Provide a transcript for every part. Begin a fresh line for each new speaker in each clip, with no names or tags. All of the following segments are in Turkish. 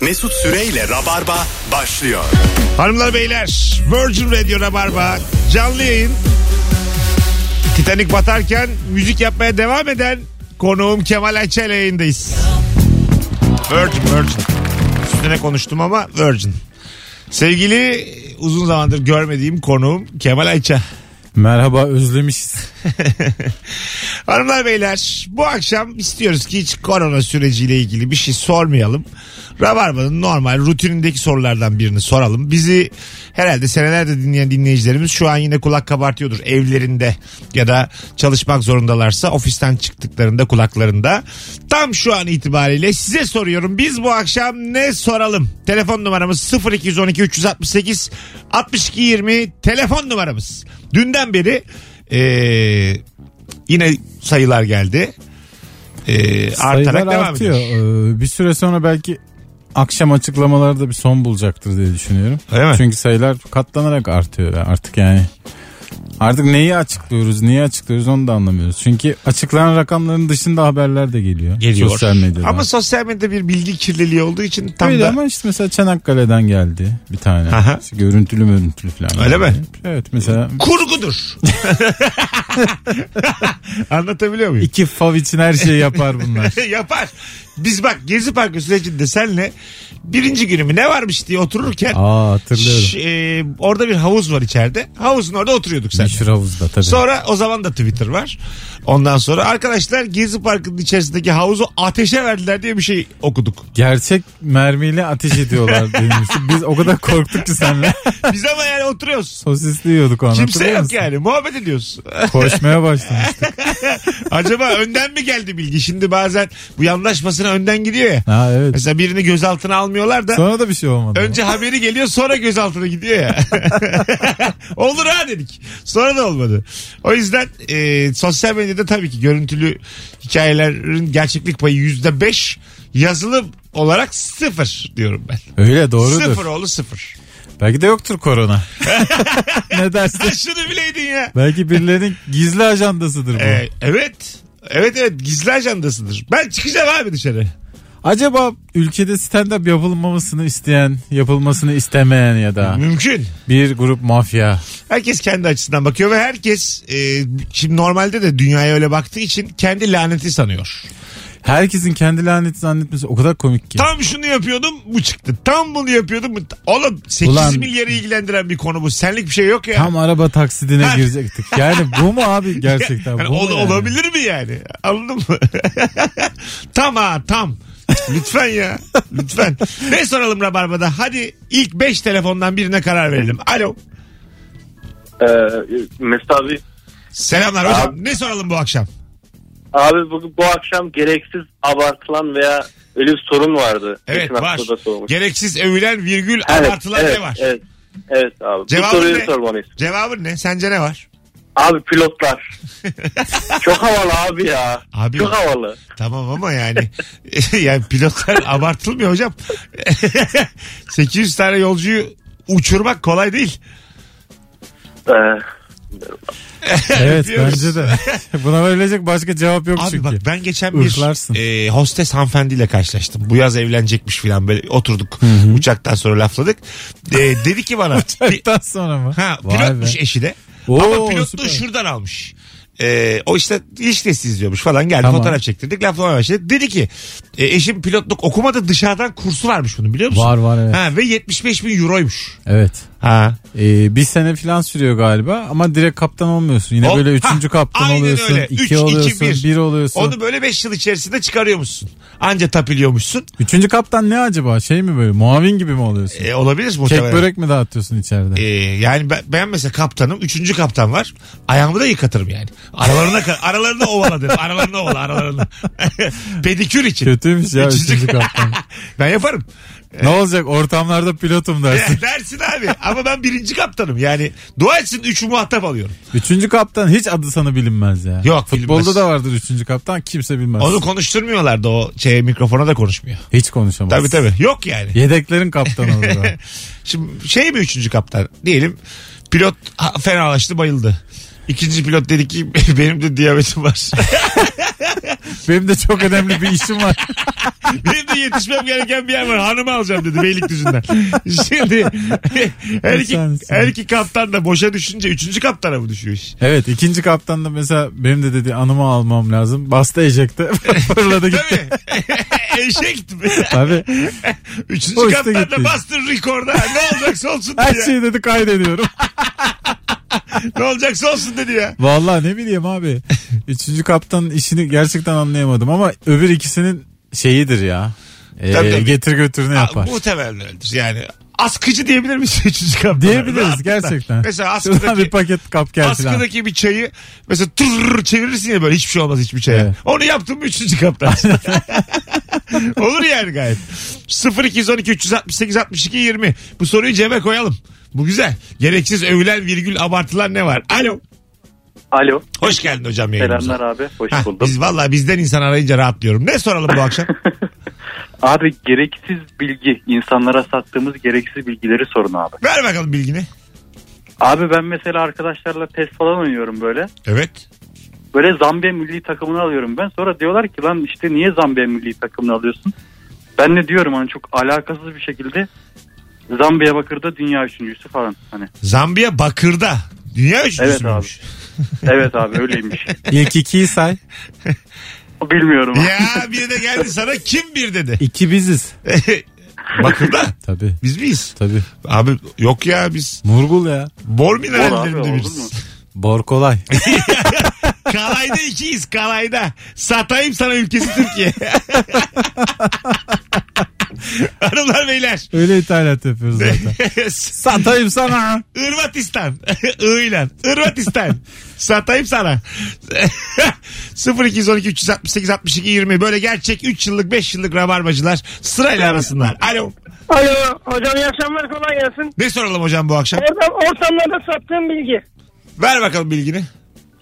Mesut Süreyle Rabarba başlıyor.
Hanımlar beyler Virgin Radio Rabarba canlı yayın. Titanic batarken müzik yapmaya devam eden konuğum Kemal Ayça ile yayındayız. Virgin Virgin. Üstüne konuştum ama Virgin. Sevgili uzun zamandır görmediğim konuğum Kemal Ayça.
Merhaba özlemişiz.
Hanımlar beyler bu akşam istiyoruz ki hiç korona süreciyle ilgili bir şey sormayalım. Rabarba'nın normal rutinindeki sorulardan birini soralım. Bizi herhalde senelerde dinleyen dinleyicilerimiz şu an yine kulak kabartıyordur evlerinde ya da çalışmak zorundalarsa ofisten çıktıklarında kulaklarında. Tam şu an itibariyle size soruyorum biz bu akşam ne soralım? Telefon numaramız 0212 368 62 20 telefon numaramız. Dünden beri ee, Yine sayılar geldi. Ee, artarak devam
artıyor.
ediyor.
Ee, bir süre sonra belki akşam açıklamalarda bir son bulacaktır diye düşünüyorum.
Öyle mi?
Çünkü sayılar katlanarak artıyor ya artık yani. Artık neyi açıklıyoruz, niye açıklıyoruz onu da anlamıyoruz. Çünkü açıklanan rakamların dışında haberler de geliyor.
Geliyor.
Sosyal medyada.
Ama sosyal medyada bir bilgi kirliliği olduğu için tam
Öyle
da
ama işte mesela Çanakkale'den geldi bir tane.
Aha.
İşte görüntülü görüntülü falan.
Öyle mi?
Evet mesela
kurgudur. Anlatabiliyor muyum?
iki fav için her şeyi yapar bunlar.
Yapar. Biz bak Gezi Parkı sürecinde senle birinci günümü ne varmış diye otururken
Aa hatırlıyorum.
ş- e, orada bir havuz var içeride. Havuzun orada oturuyorduk sen.
Meşhur havuzda tabii.
Sonra o zaman da Twitter var. Ondan sonra arkadaşlar Gezi Parkı'nın içerisindeki havuzu ateşe verdiler diye bir şey okuduk.
Gerçek mermiyle ateş ediyorlar demişti. Biz o kadar korktuk ki senle.
Biz ama yani oturuyoruz.
Sosisli yiyorduk o an.
Kimse
hatırlıyor
yok
musun?
yani. Muhabbet ediyoruz.
Koşmaya başlamıştık.
Acaba önden mi geldi bilgi? Şimdi bazen bu yandaş basına önden gidiyor ya.
Ha evet.
Mesela birini gözaltına almıyorlar da
Sonra da bir şey olmadı.
önce haberi geliyor sonra gözaltına gidiyor ya. Olur ha dedik. Sonra da olmadı. O yüzden e, sosyal medyada tabii ki görüntülü hikayelerin gerçeklik payı yüzde beş yazılı olarak sıfır diyorum ben.
Öyle doğrudur.
Sıfır oğlu sıfır.
Belki de yoktur korona. ne dersin?
Ha, şunu bileydin ya.
Belki birilerinin gizli ajandasıdır bu.
E, evet. Evet evet gizli ajandasıdır. Ben çıkacağım abi dışarı.
Acaba ülkede stand-up yapılmamasını isteyen, yapılmasını istemeyen ya da
Mümkün.
bir grup mafya.
Herkes kendi açısından bakıyor ve herkes e, şimdi normalde de dünyaya öyle baktığı için kendi laneti sanıyor.
Herkesin kendi laneti zannetmesi o kadar komik ki.
Tam şunu yapıyordum bu çıktı. Tam bunu yapıyordum bu. Oğlum 8
Ulan-
milyarı ilgilendiren bir konu bu. Senlik bir şey yok ya.
Tam araba taksidine
Ha.
girecektik. Yani bu mu abi gerçekten?
Yani
bu mu
ol-
yani?
Olabilir mi yani? Anladın mı? tam ha tam. Lütfen ya. Lütfen. Ne soralım Rabarba'da? Hadi ilk 5 telefondan birine karar verelim. Alo.
Ee, Mesut abi,
Selamlar hocam. Ne soralım bu akşam?
abi bugün bu akşam gereksiz abartılan veya öyle bir sorun vardı.
Evet
Geçen
var.
hafta da sormuş.
Gereksiz övülen virgül
Evet,
abartılan
evet,
ne var?
Evet, evet abi.
Cevabı
bu soruyu
ne?
sormalıyız.
Cevabın ne? Sence ne var?
Abi pilotlar. Çok havalı abi ya.
Abi-
Çok havalı.
Tamam ama yani yani pilotlar abartılmıyor hocam. 800 tane yolcuyu uçurmak kolay değil.
Ee,
Evet
Öpüyoruz.
bence de. Buna verilecek başka cevap yok
Abi
çünkü.
bak ben geçen bir
Irklarsın.
e, hostes hanımefendiyle karşılaştım. Bu yaz evlenecekmiş filan böyle oturduk. Uçaktan sonra lafladık. E, dedi ki bana pi-
Daha sonra mı?
ha,
Vay
pilotmuş
be.
eşi de.
Oo,
ama pilotluğu
süper.
şuradan almış. E, o işte ilişkisi izliyormuş falan geldi
Tamam.
fotoğraf çektirdik laflamaya başladık. Dedi ki e, eşim pilotluk okumadı dışarıdan kursu varmış bunun biliyor musun?
Var, var, evet.
Ha, ve 75 bin euroymuş.
Evet.
Ha.
Ee, bir sene falan sürüyor galiba ama direkt kaptan olmuyorsun. Yine
Hop,
böyle
ha,
üçüncü kaptan
aynen
oluyorsun.
öyle.
iki
Üç, iki,
oluyorsun.
bir.
bir oluyorsun.
Onu böyle 5 yıl içerisinde çıkarıyormuşsun. Anca tapiliyormuşsun.
Üçüncü kaptan ne acaba? Şey mi böyle muavin gibi mi oluyorsun?
E, olabilir
Kek
muhtemelen.
börek mi dağıtıyorsun içeride?
Ee, yani ben, ben mesela kaptanım. Üçüncü kaptan var. Ayağımı da yıkatırım yani. Aralarına, ka- aralarına ovala derim. Aralarına ovala aralarına. Pedikür için.
Kötüymüş ya
Üçüncü-
üçüncü kaptan.
Ben yaparım.
ne olacak ortamlarda pilotum dersin.
Ya, Dersin abi. Ama ben birinci kaptanım. Yani dua etsin üçü muhatap alıyorum.
üçüncü kaptan hiç adı sana bilinmez ya.
Yok,
Futbolda
bilinmez.
da vardır üçüncü kaptan kimse bilmez.
Onu konuşturmuyorlar da o şey mikrofona da konuşmuyor.
Hiç konuşamaz.
Tabii tabii. Yok yani.
Yedeklerin kaptanı olur o.
Şimdi şey mi üçüncü kaptan? Diyelim pilot ha- fenalaştı bayıldı. İkinci pilot dedi ki benim de diyabetim var.
Benim de çok önemli bir işim var.
Benim de yetişmem gereken bir yer var. Hanımı alacağım dedi Beylikdüzü'nden. Şimdi her iki, her iki kaptan da boşa düşünce üçüncü kaptana mı düşüyor iş?
Evet ikinci kaptan da mesela benim de dedi anımı almam lazım. Bastı ejekte fırladı gitti.
Tabii. Eşek mi?
Abi
Üçüncü
Hoşta
kaptan da
gitti.
bastır rekorda. Ne olacaksa olsun
her şey-
dedi ya.
şeyi dedi kaydediyorum.
Ne olacaksa olsun dedi ya.
Vallahi ne bileyim abi. Üçüncü kaptanın işini gerçekten anlayamadım ama öbür ikisinin şeyidir ya. Ee,
Tabii, tabii.
Getir götürünü yapar.
Muhtemelen öyledir. Yani askıcı diyebilir miyiz üçüncü kaptana?
Diyebiliriz
Rahatlıkla.
gerçekten.
Mesela
Şuradan
askıdaki...
bir paket kap gel filan.
Askıdaki bir çayı mesela tır çevirirsin ya böyle hiçbir şey olmaz hiçbir çaya.
Evet.
Onu yaptım mı üçüncü kaptan. Olur yani gayet. 0212 368 62 20. Bu soruyu cebe koyalım. Bu güzel. Gereksiz övülen virgül abartılar ne var? Alo.
Alo.
Hoş geldin hocam yayınımıza.
Selamlar abi. Hoş
Hah,
bulduk.
biz valla bizden insan arayınca rahatlıyorum. Ne soralım bu akşam?
Abi gereksiz bilgi. insanlara sattığımız gereksiz bilgileri sorun abi.
Ver bakalım bilgini.
Abi ben mesela arkadaşlarla test falan oynuyorum böyle.
Evet.
Böyle Zambiya milli takımını alıyorum ben. Sonra diyorlar ki lan işte niye Zambiya milli takımını alıyorsun? Ben de diyorum hani çok alakasız bir şekilde Zambiya Bakır'da dünya üçüncüsü falan. Hani
Zambiya Bakır'da. Dünya
Evet
üçüncüsü
abi.
müymüş?
evet abi öyleymiş.
İlk ikiyi say.
Bilmiyorum. abi.
Ya bir de geldi sana kim bir dedi.
İki biziz.
Bakır'da
Tabii.
biz miyiz?
Tabii.
Abi yok ya biz
Murgul ya.
bor
Bor abi,
minerallerinde
olur mu?
biriz.
Bor kolay.
Kalayda ikiyiz kalayda. Satayım sana ülkesi Türkiye. Hanımlar beyler.
Öyle ithalat yapıyoruz zaten. Satayım sana.
Irvatistan. Iğlan. Irvatistan. Satayım sana. 0212 368 62 20 böyle gerçek 3 yıllık 5 yıllık rabarbacılar sırayla arasınlar. Alo.
Alo hocam iyi akşamlar kolay gelsin.
Ne soralım hocam bu akşam?
Ortam, ortamlarda sattığım bilgi.
Ver bakalım bilgini.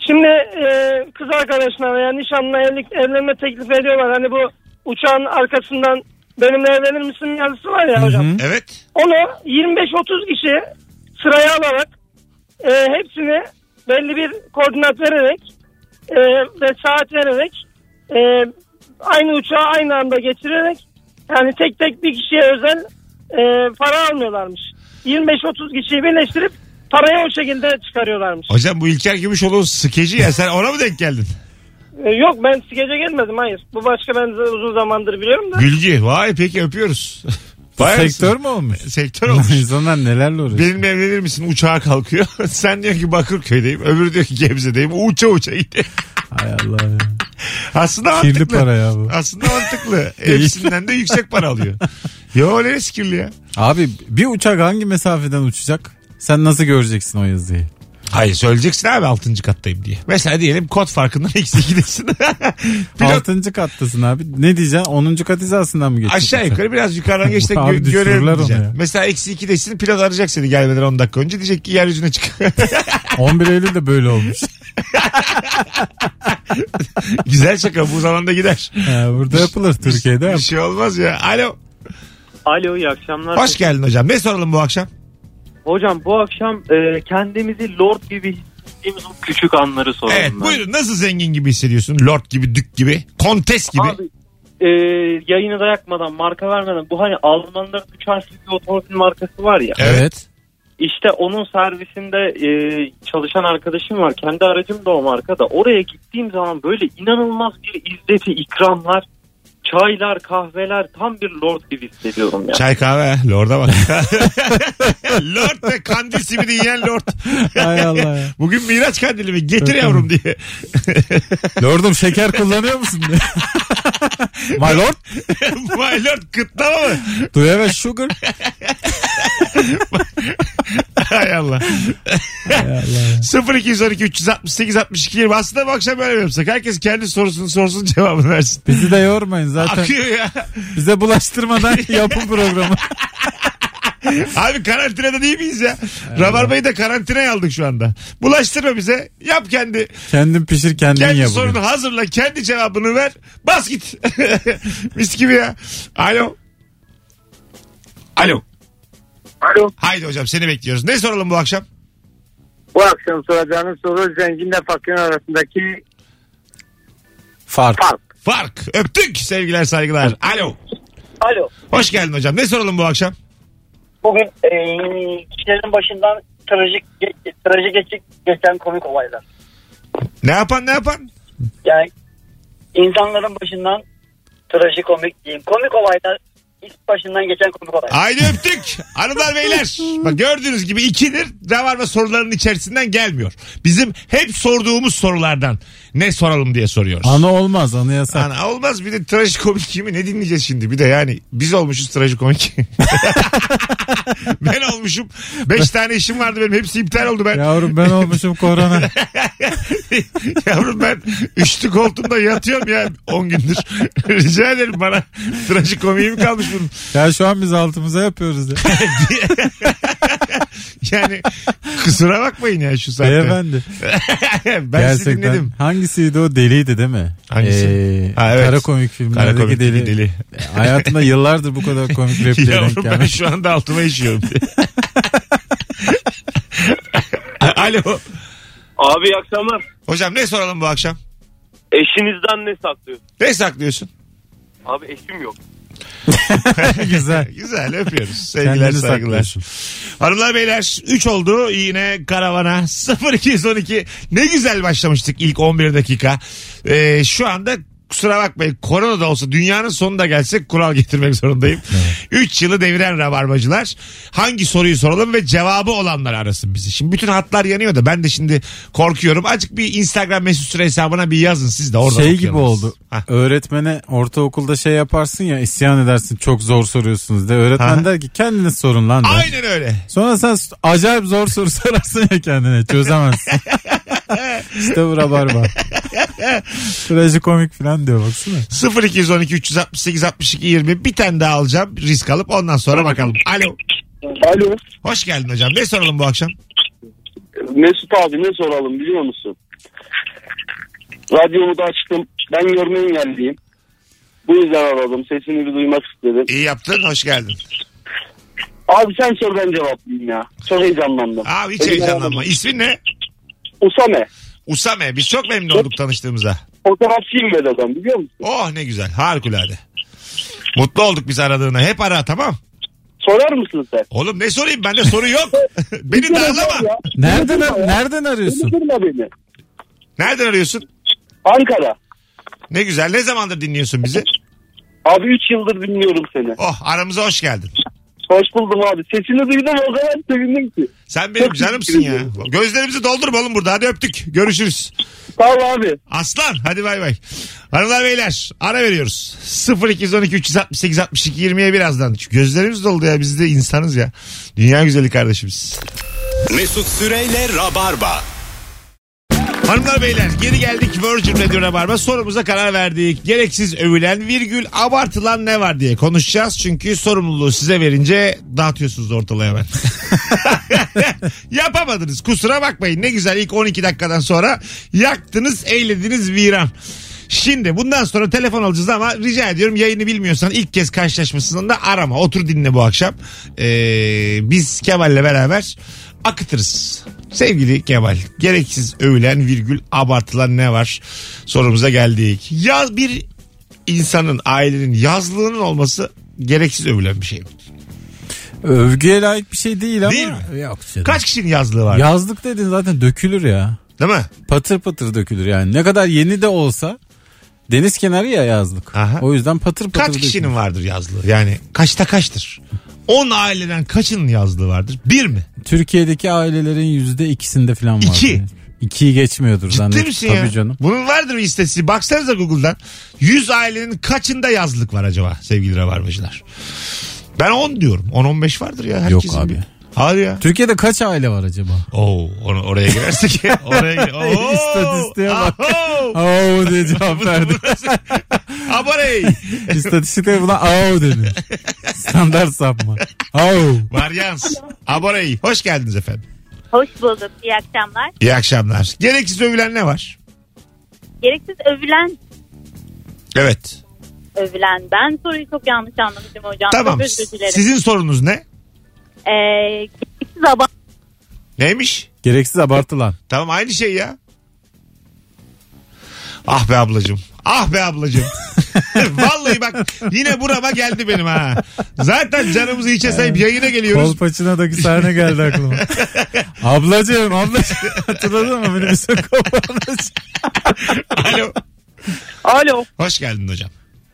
Şimdi e, kız arkadaşına veya nişanlına evlilik, evlenme teklifi ediyorlar. Hani bu uçağın arkasından benimle evlenir misin yazısı var ya hocam.
Evet.
Onu 25-30 kişi sıraya alarak e, hepsini belli bir koordinat vererek e, ve saat vererek e, aynı uçağa aynı anda geçirerek yani tek tek bir kişiye özel e, para almıyorlarmış. 25-30 kişiyi birleştirip parayı o şekilde çıkarıyorlarmış.
Hocam bu İlker Gümüşoğlu skeci ya sen ona mı denk geldin?
E, yok ben skece gelmedim hayır. Bu başka ben z- uzun zamandır biliyorum da.
Bilgi. Vay peki öpüyoruz. Vay
Sektör mü olmuş?
Sektör olmuş.
İnsanlar nelerle uğraşıyor.
Benimle evlenir misin? Uçağa kalkıyor. Sen diyor ki Bakırköy'deyim. Öbürü diyor ki Gebze'deyim. Uça uça gidiyor.
Hay Allah ya.
Aslında
Kirli
mantıklı.
para ya bu.
Aslında mantıklı. Hepsinden de yüksek para alıyor. Yo ne kirli ya.
Abi bir uçak hangi mesafeden uçacak? Sen nasıl göreceksin o yazıyı?
Hayır söyleyeceksin abi 6. kattayım diye. Mesela diyelim kod farkından eksi 2'desin. Pilot
Altıncı kattasın abi. Ne diyeceksin? Onuncu kat hizasından mı geçeceksin?
aşağı yukarı biraz yukarıdan geç de
Abi
gö-
düşürürler
görelim
onu
diyeceksin.
ya.
Mesela eksi 2'desin pilot arayacak seni gelmeden 10 dakika önce. Diyecek ki yeryüzüne çık.
11 Eylül de böyle olmuş.
Güzel şaka bu zamanda gider.
Ha, burada yapılır Türkiye'de.
Bir şey olmaz ya. Alo.
Alo iyi akşamlar.
Hoş geldin hocam. Ne soralım bu akşam?
Hocam bu akşam e, kendimizi lord gibi hissettiğimiz o küçük anları soralım.
Evet
ben.
buyurun nasıl zengin gibi hissediyorsun? Lord gibi, dük gibi, kontes gibi.
Abi e, yayını da yakmadan marka vermeden bu hani Almanların üç harfli bir otomobil markası var ya.
Evet.
İşte onun servisinde e, çalışan arkadaşım var. Kendi aracım da o markada. Oraya gittiğim zaman böyle inanılmaz bir izzeti ikramlar. Çaylar, kahveler tam bir lord gibi hissediyorum ya.
Çay kahve. Lord'a bak. Lord ve kandil simidi yiyen Lord.
Hay Allah ya.
Bugün Miraç kandili mi? Getir yavrum diye.
Lordum şeker kullanıyor musun? My lord.
My Lord kıtlama mı?
Do you have a sugar?
Hay Allah. 0212 368 62 20. Aslında bu akşam böyle mi yapsak? Herkes kendi sorusunu sorsun cevabını versin.
Bizi de yormayın zaten.
Akıyor ya.
Bize bulaştırmadan yapın programı.
Abi karantinada değil miyiz ya? Rabarbayı da karantinaya aldık şu anda. Bulaştırma bize. Yap kendi.
Kendin pişir kendin
Kendi
ye bugün.
sorunu hazırla. Kendi cevabını ver. Bas git. Mis gibi ya. Alo. Alo.
Alo.
Haydi hocam seni bekliyoruz. Ne soralım bu akşam?
Bu akşam soracağınız soru zenginle fakirin arasındaki
Fark.
Fark. Öptük sevgiler saygılar. Alo.
Alo.
Hoş geldin hocam. Ne soralım bu akşam?
Bugün eee, kişilerin başından trajik ge- trajik geçik geçen komik olaylar.
Ne yapan ne yapan?
Yani insanların başından trajik komik diyeyim. Komik olaylar ilk başından geçen komik olaylar.
Haydi öptük. Hanımlar beyler. Bak gördüğünüz gibi ikidir. Ne var mı soruların içerisinden gelmiyor. Bizim hep sorduğumuz sorulardan ne soralım diye soruyoruz.
Anı olmaz anı yasak.
Ana olmaz bir de trajikomik kimi ne dinleyeceğiz şimdi bir de yani biz olmuşuz trajikomik. ben olmuşum. Beş tane işim vardı benim hepsi iptal oldu ben.
Yavrum ben olmuşum korona.
Yavrum ben üçlü koltuğumda yatıyorum ya 10 gündür. Rica ederim bana trajikomiği mi kalmış bunun?
ya şu an biz altımıza yapıyoruz ya.
Yani kusura bakmayın ya şu saatte.
Beyefendi.
ben sizi
gerçekten.
dinledim.
Hangisiydi o deliydi değil mi?
Hangisi?
Ee,
Ha, evet.
Kara komik filmlerdeki
Karakomik
deli.
deli. deli.
Hayatımda yıllardır bu kadar komik repliğe denk
Yavrum ben
gelmiş.
şu anda altıma işiyorum. Alo.
Abi iyi akşamlar.
Hocam ne soralım bu akşam?
Eşinizden ne saklıyorsun?
Ne saklıyorsun?
Abi eşim yok.
Güzel.
Güzel öpüyoruz. Sevgiler
Kendini
saygılar.
saklıyorsun.
Hanımlar beyler 3 oldu yine karavana 0212 ne güzel başlamıştık ilk 11 dakika. Ee, şu anda kusura bakmayın korona da olsa dünyanın sonu da gelse kural getirmek zorundayım. 3 yılı deviren rabarbacılar hangi soruyu soralım ve cevabı olanlar arasın bizi. Şimdi bütün hatlar yanıyor da ben de şimdi korkuyorum. Azıcık bir Instagram mesut süre hesabına bir yazın siz de oradan
şey gibi
okuyalım.
oldu.
Hah.
Öğretmene ortaokulda şey yaparsın ya isyan edersin çok zor soruyorsunuz de. Öğretmen
Aha.
der ki kendiniz sorun lan der.
Aynen öyle.
Sonra sen s- acayip zor soru sorarsın ya kendine çözemezsin. işte bu rabarba. komik falan diyor baksana.
0212 368 62 20 bir tane daha alacağım risk alıp ondan sonra bakalım. Alo.
Alo.
Hoş geldin hocam. Ne soralım bu akşam?
Mesut abi ne soralım biliyor musun? Radyomu da açtım. Ben görme engelliyim. Bu yüzden aradım. Sesini bir duymak istedim.
İyi yaptın. Hoş geldin.
Abi sen sor ben cevaplayayım ya. Çok heyecanlandım.
Abi hiç
Elim
heyecanlanma.
ayağım-
İsmin ne?
Usame.
Usame. Biz çok memnun olduk tanıştığımıza.
Fotoğrafçıyım ben adam biliyor musun?
Oh ne güzel. Harikulade. Mutlu olduk biz aradığına. Hep ara tamam.
Sorar mısın sen?
Oğlum ne sorayım? Bende soru yok.
şey
Beni darlama.
Ya,
Nereden,
ya.
nereden arıyorsun?
Kırma beni.
Nereden arıyorsun?
Ankara.
Ne güzel. Ne zamandır dinliyorsun bizi?
Abi 3 yıldır dinliyorum seni.
Oh aramıza hoş geldin.
Hoş buldum abi. Sesini duydum o kadar sevindim ki.
Sen benim canımsın ya. Gözlerimizi doldurma oğlum burada. Hadi öptük. Görüşürüz.
Sağ ol abi.
Aslan hadi bay bay. Hanımlar beyler ara veriyoruz. 0212 368 62 20'ye birazdan. Çünkü gözlerimiz doldu ya biz de insanız ya. Dünya güzeli kardeşimiz.
Mesut Süreyle Rabarba.
Hanımlar beyler geri geldik Virgin Radio Rabarba sorumuza karar verdik. Gereksiz övülen virgül abartılan ne var diye konuşacağız. Çünkü sorumluluğu size verince dağıtıyorsunuz ortalığı hemen. Yapamadınız kusura bakmayın ne güzel ilk 12 dakikadan sonra yaktınız eğlediniz viran. Şimdi bundan sonra telefon alacağız ama rica ediyorum yayını bilmiyorsan ilk kez karşılaşmasından da arama. Otur dinle bu akşam. Ee, biz Kemal'le beraber akıtırız. Sevgili Kemal gereksiz övülen virgül abartılan ne var sorumuza geldik. Ya bir insanın ailenin yazlığının olması gereksiz övülen bir şey mi?
Övgüye layık bir şey değil ama.
Değil mi?
Yok canım.
Kaç kişinin yazlığı var
Yazlık dedin zaten dökülür ya.
değil mi?
Patır patır dökülür yani. Ne kadar yeni de olsa deniz kenarı ya yazlık.
Aha.
O yüzden patır patır
Kaç
dökülür.
kişinin vardır yazlığı? Yani kaçta kaçtır? 10 aileden kaçının yazlığı vardır? Bir mi?
Türkiye'deki ailelerin yüzde ikisinde falan var.
İki.
İkiyi geçmiyordur
Ciddi
zannediyorum.
misin
Tabii
ya?
canım.
Bunun vardır bir istatistiği. Baksanıza Google'dan. 100 ailenin kaçında yazlık var acaba sevgili rabarbacılar? Ben 10 diyorum. 10-15 vardır ya. Herkesin
abi.
bir- Hadi ya.
Türkiye'de kaç aile var acaba?
Oo, or- oraya girersek. oraya gir- Oo,
İstatistiğe bak.
aho!
Oo diye cevap verdi.
Abarey.
İstatistikler buna au deniyor. Standart sapma. Au.
Varyans. Abarey. Hoş geldiniz efendim.
Hoş bulduk. İyi akşamlar.
İyi akşamlar. Gereksiz övülen ne var?
Gereksiz övülen
Evet.
övülen. Ben soruyu çok yanlış anlamışım hocam.
Tamam.
Çok özür dilerim.
Sizin sorunuz ne?
Ee, gereksiz abart
Neymiş?
Gereksiz abartılan.
Tamam aynı şey ya. Ah be ablacım. Ah be ablacım. Vallahi bak yine burama geldi benim ha. Zaten canımızı içe sayıp yayına geliyoruz.
Kolpaçina'daki sahne geldi aklıma. ablacığım ablacığım hatırladın mı? Beni bir sakın
Alo.
Alo.
Hoş geldin hocam.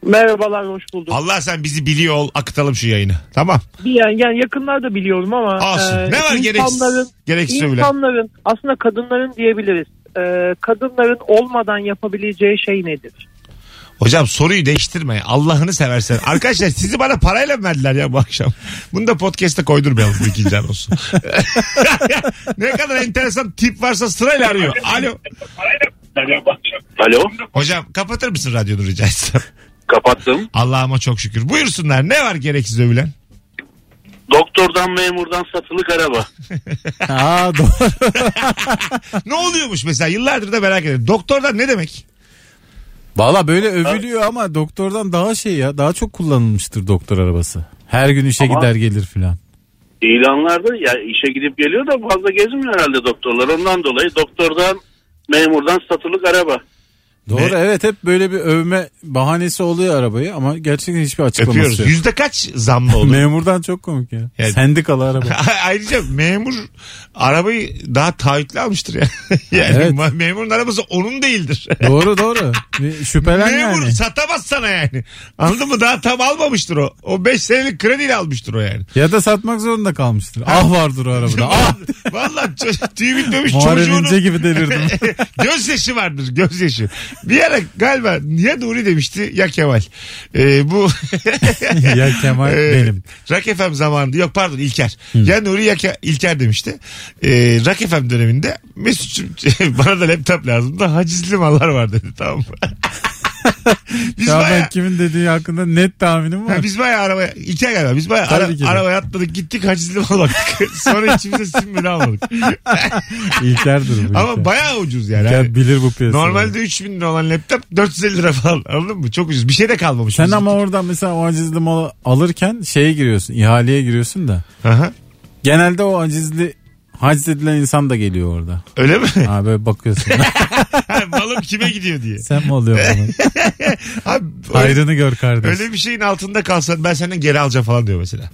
Merhabalar hoş bulduk.
Allah sen bizi biliyor ol akıtalım şu yayını. Tamam.
Bir yani, yani yakınlarda biliyorum ama.
Olsun.
e,
ne var gereksiz?
insanların-
Gereksiz övülen.
İnsanların aslında kadınların diyebiliriz. E, kadınların olmadan yapabileceği şey nedir?
Hocam soruyu değiştirme. Allah'ını seversen. Arkadaşlar sizi bana parayla mı verdiler ya bu akşam? Bunu da podcast'e koydurmayalım bu ikinci an olsun. ne kadar enteresan tip varsa sırayla arıyor. Alo.
Alo
Hocam kapatır mısın radyonu rica etsem?
kapattım.
Allah'ıma çok şükür. Buyursunlar ne var gereksiz övülen?
Doktordan memurdan satılık araba.
Aa doğru.
Ne oluyormuş mesela yıllardır da merak ediyorum. Doktordan ne demek?
Valla böyle övülüyor ama doktordan daha şey ya daha çok kullanılmıştır doktor arabası. Her gün işe gider gelir filan.
İlanlarda ya işe gidip geliyor da fazla gezmiyor herhalde doktorlar. Ondan dolayı doktordan memurdan satılık araba.
Doğru
Ne?
evet hep böyle bir övme bahanesi oluyor arabayı ama gerçekten hiçbir açıklaması
Öpüyoruz.
yok.
Yüzde kaç zamlı olur?
Memurdan çok komik ya.
Yani-
Sendikalı araba.
Ayrıca memur arabayı daha taahhütlü almıştır ya. yani
Evet.
ma- memurun arabası onun değildir.
doğru doğru. Bir Şüphelen
Memur
yani.
satamaz sana yani. Anladın mı? Daha tam almamıştır o. O 5 senelik krediyle almıştır o yani.
Ya da satmak zorunda kalmıştır. Ah vardır o arabada. Ah.
Vallahi ço- tüy bitmemiş
Muharrem İnce
çocuğunun
gibi delirdim.
gözyaşı vardır gözyaşı. Bir ara galiba ya Nuri demişti ya Kemal. Ee, bu
ya Kemal
Ee,
benim.
Rock FM zamanında yok pardon İlker. Ya Nuri ya Ke- İlker demişti. Ee, Rock FM döneminde Mesut'cum bana da laptop lazım da hacizli mallar var dedi tamam mı? biz
Ya
bayağı
ben kimin dediği hakkında net tahminim
Ha,
var.
biz bayağı arabaya, İlker galiba biz bayağı
Tabii
ara-
ki de.
arabaya atladık gittik hacizli mal baktık. Sonra içimize sinmedi almadık.
İlker'dir bu
Ama
İlker.
bayağı ucuz yani.
İlker
Hani
bilir bu piyasayı.
Normalde 3000 lira olan laptop 450 lira falan anladın mı? Çok ucuz. Bir şey de kalmamış.
Sen
bizim.
ama oradan mesela o acizli malı alırken şeye giriyorsun, ihaleye giriyorsun da.
Aha.
Genelde o acizli haciz edilen insan da geliyor orada.
Öyle mi?
Ha böyle bakıyorsun.
Ha, Malım kime gidiyor diye.
Sen mi oluyor bunu?
Abi, öyle,
Hayrını gör kardeş.
öyle bir şeyin altında kalsan ben senden geri alacağım falan diyor mesela.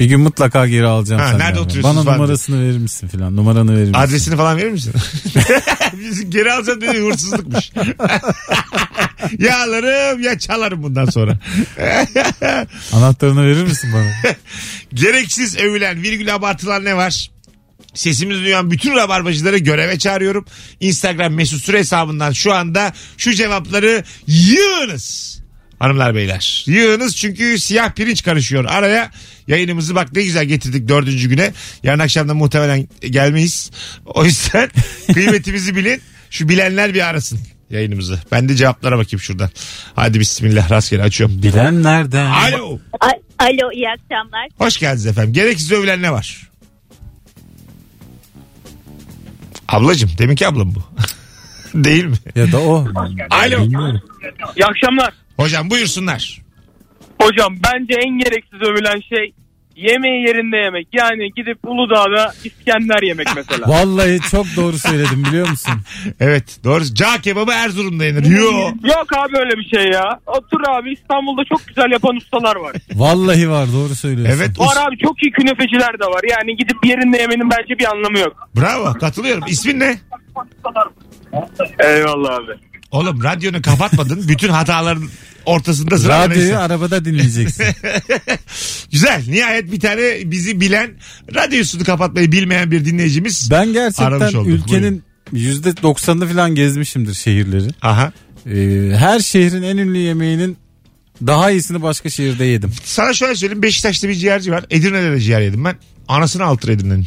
Bir gün mutlaka geri alacağım
Ha,
senden.
nerede oturuyorsunuz
Bana
falan
numarasını verir misin filan? Numaranı verir misin?
Adresini falan verir misin? Biz geri alacağım dedi hırsızlıkmış. ya alırım ya çalarım bundan sonra.
Anahtarını verir misin bana?
Gereksiz övülen virgül abartılan ne var? Sesimizi duyan bütün rabarbacıları göreve çağırıyorum. Instagram mesut süre hesabından şu anda şu cevapları yığınız. Hanımlar beyler yığınız çünkü siyah pirinç karışıyor araya yayınımızı bak ne güzel getirdik dördüncü güne yarın akşam da muhtemelen gelmeyiz o yüzden kıymetimizi bilin şu bilenler bir arasın yayınımızı ben de cevaplara bakayım şuradan hadi bismillah rastgele açıyorum
Bilen nereden?
alo
A- Alo iyi akşamlar.
Hoş geldiniz efendim. Gereksiz övülen ne var? Ablacım deminki ablam bu. Değil mi?
Ya da o.
Alo.
Bilmiyorum.
İyi akşamlar.
Hocam buyursunlar.
Hocam bence en gereksiz övülen şey yemeği yerinde yemek. Yani gidip Uludağ'da İskender yemek mesela.
Vallahi çok doğru söyledim biliyor musun?
Evet doğru. Cağ kebabı Erzurum'da yenir. Yo.
Yok abi öyle bir şey ya. Otur abi İstanbul'da çok güzel yapan ustalar var.
Vallahi var doğru söylüyorsun.
Evet. us-
Var abi çok iyi künefeciler de var. Yani gidip yerinde yemenin bence bir anlamı yok.
Bravo katılıyorum. İsmin ne?
Eyvallah abi.
Oğlum radyonu kapatmadın. Bütün hataların ortasında sıra
Radyoyu
neyse.
arabada dinleyeceksin.
Güzel. Nihayet bir tane bizi bilen radyosunu kapatmayı bilmeyen bir dinleyicimiz.
ben
Aramış
gerçekten
olduk,
ülkenin %90'ını falan gezmişimdir şehirleri.
Aha.
Ee, her şehrin en ünlü yemeğinin daha iyisini başka şehirde yedim.
Sana şöyle söyleyeyim. Beşiktaş'ta bir ciğerci var. Edirne'de de ciğer yedim ben. Anasını altır Edirne'nin.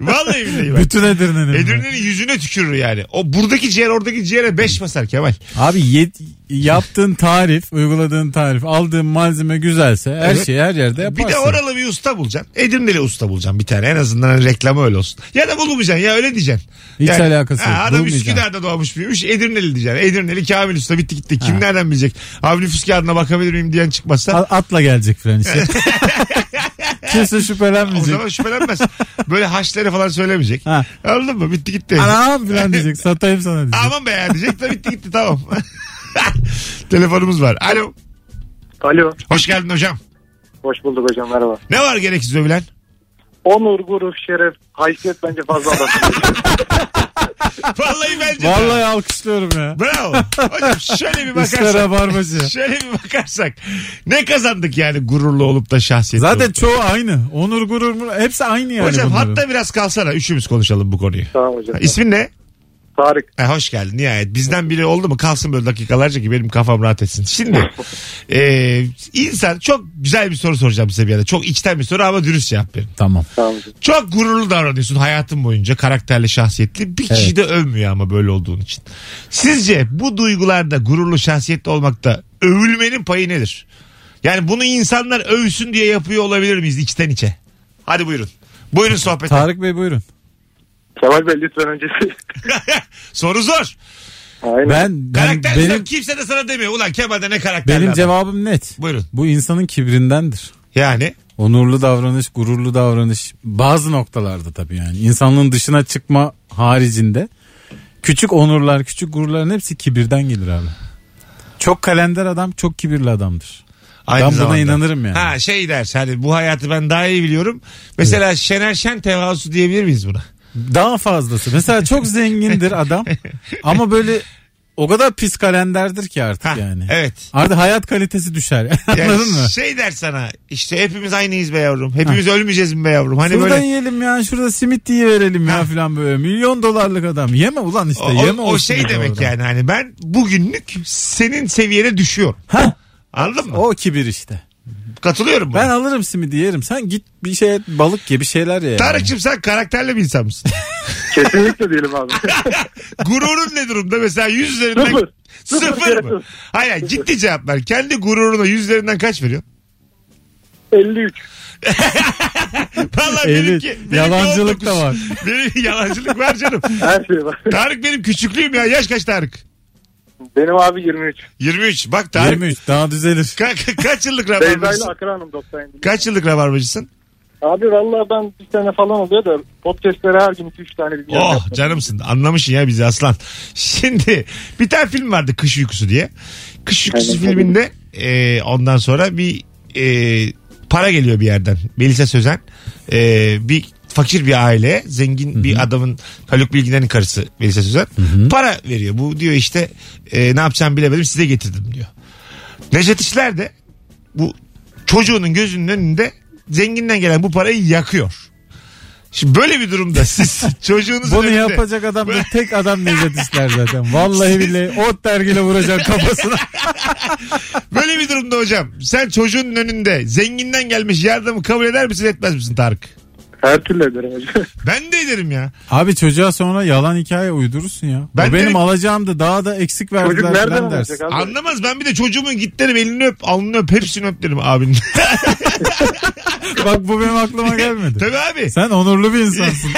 Vallahi billahi bak.
Bütün Edirne'nin.
Edirne'nin yüzüne tükürür yani. O buradaki ciğer oradaki ciğere 5 basar Kemal.
Abi ye- yaptığın tarif, uyguladığın tarif, aldığın malzeme güzelse her
Evet.
şeyi her yerde yaparsın.
Bir de oralı bir usta bulacaksın. Edirne'li usta bulacaksın bir tane. En azından hani reklamı öyle olsun. Ya da bulamayacaksın ya öyle diyeceksin.
Hiç
Yani,
alakası yok.
ha, adam
Bulmayacaksın.
Üsküdar'da doğmuş büyümüş. Edirne'li diyeceksin. Edirne'li Kamil Usta bitti gitti. Kim nereden bilecek? Abi nüfus kağıdına bakabilir miyim diyen çıkmazsa.
A- Atla gelecek filan işte. Kimse
O
şüphelenmeyecek.
zaman şüphelenmez. Böyle haşları falan söylemeyecek.
Ha.
Anladın mı? Bitti gitti.
Anam falan diyecek. Satayım sana diyecek.
Aman be diyecek de bitti gitti tamam. Telefonumuz var. Alo.
Alo.
Hoş geldin hocam.
Hoş bulduk hocam merhaba.
Ne var gereksiz övülen?
Onur, gurur, şeref, haysiyet bence fazla abartılıyor.
Vallahi bence.
Vallahi alkışlıyorum ya.
Bravo. Hocam şöyle bir
İşte
bakarsak.
rabarbacı.
şöyle bir bakarsak. Ne kazandık yani gururlu olup da şahsiyetli
Zaten
olup?
çoğu aynı. Onur gurur mur- hepsi aynı yani
Hocam
bunların.
hatta biraz kalsana. Üçümüz konuşalım bu konuyu.
Tamam hocam.
Ha, İsmin ne?
Tarık.
E, hoş geldin nihayet. Bizden biri oldu mu kalsın böyle dakikalarca ki benim kafam rahat etsin. Şimdi e, insan çok güzel bir soru soracağım size bir ara. Çok içten bir soru ama dürüst cevap verin.
Tamam.
Tamam hocam.
Çok gururlu davranıyorsun hayatın boyunca karakterli şahsiyetli. Bir kişi
Evet.
de övmüyor ama böyle olduğun için. Sizce bu duygularda gururlu şahsiyetli olmakta övülmenin payı nedir? Yani bunu insanlar övsün diye yapıyor olabilir miyiz içten içe? Hadi buyurun. Buyurun sohbete.
Tarık Bey buyurun.
Kemal Bey lütfen öncesi.
Soru zor.
Aynen.
Ben, ben
Karakter
benim
kimse de sana demiyor. Ulan Kemal'de ne karakterli
benim
adam.
cevabım net.
Buyurun.
Bu insanın kibrindendir.
Yani
Onurlu davranış, gururlu davranış bazı noktalarda tabii yani. İnsanlığın dışına çıkma haricinde küçük onurlar, küçük gururların hepsi kibirden gelir abi. Çok kalender adam, çok kibirli adamdır.
aynı
Ben buna
zamanda.
inanırım yani.
Ha şey der hani bu hayatı ben daha iyi biliyorum. Mesela Şener Şen tevazu diyebilir miyiz buna?
Daha fazlası. Mesela çok zengindir adam ama böyle o kadar pis kalenderdir ki artık
Ha,
yani.
Evet.
Artık hayat kalitesi düşer.
Yani
Anladın mı?
Şey der sana işte hepimiz aynıyız be yavrum. Hepimiz ölmeyeceğiz mi be yavrum? Hani
Şuradan
böyle
yiyelim ya şurada simit diye verelim
Ha.
ya filan böyle. Milyon dolarlık adam. Yeme ulan işte
o,
yeme
o, o
olsun
şey
diyor
demek
oradan.
yani hani ben bugünlük senin seviyene düşüyorum.
Ha,
Anladın mı?
o kibir işte.
Katılıyorum buna.
Ben alırım simidi yerim. Sen git bir şey balık gibi şeyler ye. yani.
Tarık'cığım sen karakterli bir insan mısın?
Kesinlikle değilim abi.
Gururun ne durumda? Mesela yüz üzerinden...
Sıfır.
Sıfır,
Sıfır
mı?
kere
Hayır hayır, ciddi cevap ver. Kendi gururuna yüz üzerinden kaç veriyorsun?
53.
Vallahi
Evet,
benimki, benimki
yalancılık
19.
da var.
Benim yalancılık var canım.
Her şey var.
Tarık benim küçüklüğüm ya. Yaş kaç Tarık?
Benim abi 23.
23. Bak Tarık.
23 daha düzelir.
Ka- ka- kaç yıllık
Beyza ile
rabarbacısın?
Akra Hanım 97.
Kaç yıllık rabarbacısın?
Abi vallahi ben bir sene falan oluyor da podcastlere her gün 2-3 tane bir
Oh canımsın. Anlamışsın ya bizi aslan. Şimdi bir tane film vardı Kış Uykusu diye. Kış Uykusu
Evet,
filminde e, ondan sonra bir e, para geliyor bir yerden. Melisa Sözen e, bir fakir bir aile zengin bir adamın Haluk Bilginer'in karısı Melisa Sözen para veriyor. Bu diyor işte e, ne yapacağımı bilemedim size getirdim diyor. Necdet İşler de bu çocuğunun gözünün önünde zenginden gelen bu parayı yakıyor. Şimdi böyle bir durumda siz çocuğunuzun
Bunu
önünde...
yapacak adam da tek adam Necdet İşler zaten. Vallahi billahi ot dergiyle vuracak kafasına.
Böyle bir durumda hocam sen çocuğunun önünde zenginden gelmiş yardımı kabul eder misin etmez misin Tarık?
Her türlü ederim hocam.
Ben de ederim ya.
Abi çocuğa sonra yalan hikaye uydurursun ya.
Ben
o benim
direkt-
alacağım da daha da eksik verdiler
Çocuk
falan
nereden
dersin.
alacak abi?
Anlamaz ben bir de çocuğumun git derim elini öp alnını öp hepsini öp derim abinin.
Bak bu benim aklıma gelmedi.
Tabii abi
Sen onurlu bir insansın.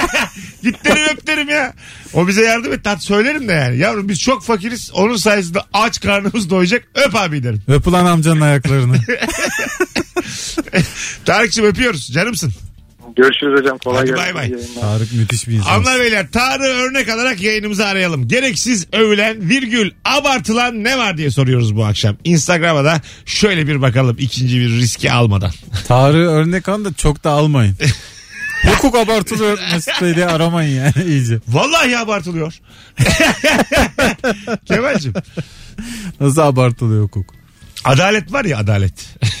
git derim öp derim ya. O bize yardım et tat söylerim de yani. Yavrum biz çok fakiriz onun sayesinde aç karnımız doyacak öp abi derim.
Öp ulan amcanın ayaklarını.
Tarık'cığım öpüyoruz canımsın.
Görüşürüz hocam. Kolay
Hadi
gelsin.
bay bay.
İyi yayınlar.
Tarık müthiş bir insan.
Hanımlar beyler Tarık'ı örnek alarak yayınımızı arayalım. Gereksiz övülen virgül abartılan ne var diye soruyoruz bu akşam. Instagram'a da şöyle bir bakalım ikinci bir riski almadan.
Tarık'ı örnek alın da çok da almayın. Hukuk abartılı örtmesi diye aramayın yani iyice.
Vallahi abartılıyor. Kemal'cim
Nasıl abartılıyor hukuk?
adalet var ya adalet.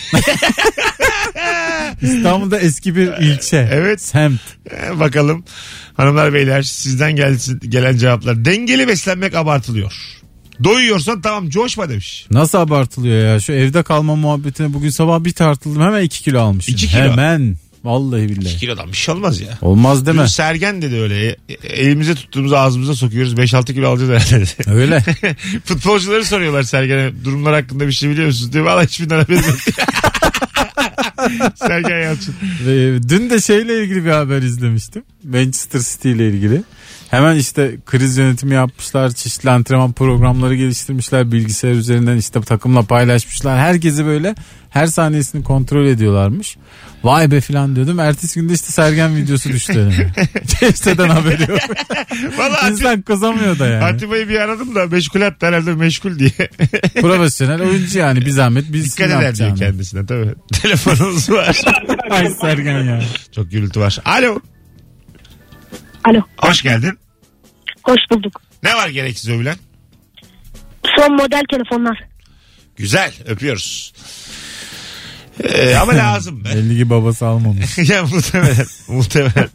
İstanbul'da eski bir ilçe.
Evet.
Semt.
Ee, Bakalım hanımlar beyler sizden gelsin, gelen cevaplar. Dengeli beslenmek abartılıyor. Doyuyorsan tamam coşma demiş.
Nasıl abartılıyor ya? Şu evde kalma muhabbetine bugün sabah bir tartıldım. Hemen 2 kilo almışım.
İki kilo.
Hemen. Vallahi billahi.
Kilodan bir şey olmaz ya.
Olmaz
Dün
deme.
Sergen dedi öyle. E- Elimize tuttuğumuzu ağzımıza sokuyoruz. 5-6 kilo alacağız herhalde dedi.
Öyle.
Futbolcuları soruyorlar Sergen'e durumlar hakkında bir şey biliyor musunuz diye. Valla hiçbirinden haberim yok. Sergen Yalçın.
Ve dün de şeyle ilgili bir haber izlemiştim. Manchester City ile ilgili. Hemen işte kriz yönetimi yapmışlar. Çeşitli antrenman programları geliştirmişler. Bilgisayar üzerinden işte takımla paylaşmışlar. Herkesi böyle her saniyesini kontrol ediyorlarmış. Vay be filan diyordum. Ertesi günde işte Sergen videosu düştü elime. Çeşiteden haberi yok.
Valla Ati-
İnsan kızamıyor da yani.
Atiba'yı bir aradım da meşgul hatta herhalde meşgul diye.
Profesyonel oyuncu yani bir zahmet biz
Dikkat
ne
eder diyor
yapacağını.
kendisine tabii. Telefonumuz var.
Ay Sergen ya.
Çok gürültü var. Alo.
Alo.
Hoş geldin.
Hoş bulduk.
Ne var gereksiz övülen?
Son model telefonlar.
Güzel öpüyoruz. Ee, ama lazım be.
Belli ki babası almamış.
ya muhtemelen. Muhtemelen.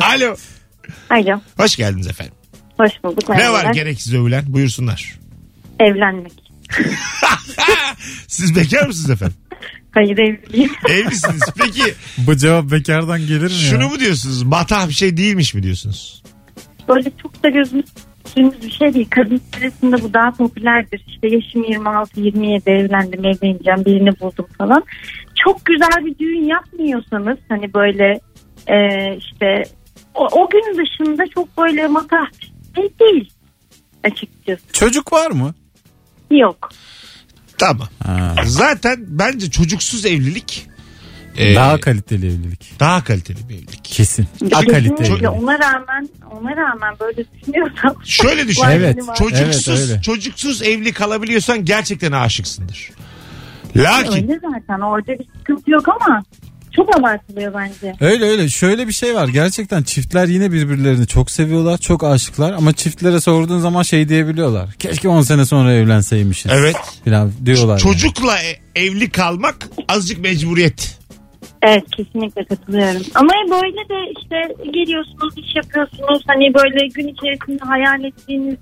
Alo.
Alo.
Hoş geldiniz efendim.
Hoş
Ne
bulduk.
var
merhabalar.
gereksiz övülen? Buyursunlar.
Evlenmek.
Siz bekar mısınız efendim?
Hayır evliyim.
Evlisiniz. Peki
Bu cevap bekardan gelir mi
şunu
ya?
mu diyorsunuz? Matah bir şey değilmiş mi diyorsunuz?
Böyle çok da gözümüz gözümüz bir şey değil. Kadın içerisinde bu daha popülerdir. İşte yaşım 26-27 evlendim evleneceğim birini buldum falan. Çok güzel bir düğün yapmıyorsanız hani böyle e, işte o, o gün dışında çok böyle matah bir şey değil açıkçası.
Çocuk var mı?
Yok.
Tamam.
Ha.
Zaten bence çocuksuz evlilik e,
Daha kaliteli evlilik.
daha kaliteli bir evlilik.
Kesin. Daha kaliteli.
Kesinlikle
evlilik.
ona rağmen ona rağmen böyle düşünüyorsam
Şöyle düşün.
Vay
Evet.
benim
Çocuksuz
Evet, öyle.
çocuksuz evli kalabiliyorsan gerçekten aşıksındır. Lakin
Öyle zaten orada bir sıkıntı yok ama çok abartılıyor bence.
Öyle öyle şöyle bir şey var gerçekten çiftler yine birbirlerini çok seviyorlar çok aşıklar ama çiftlere sorduğun zaman şey diyebiliyorlar keşke 10 sene sonra evlenseymişiz
evet
falan diyorlar.
çocukla e- evli kalmak azıcık mecburiyet.
Evet kesinlikle katılıyorum. Ama böyle de işte geliyorsunuz iş yapıyorsunuz hani böyle gün içerisinde hayal ettiğiniz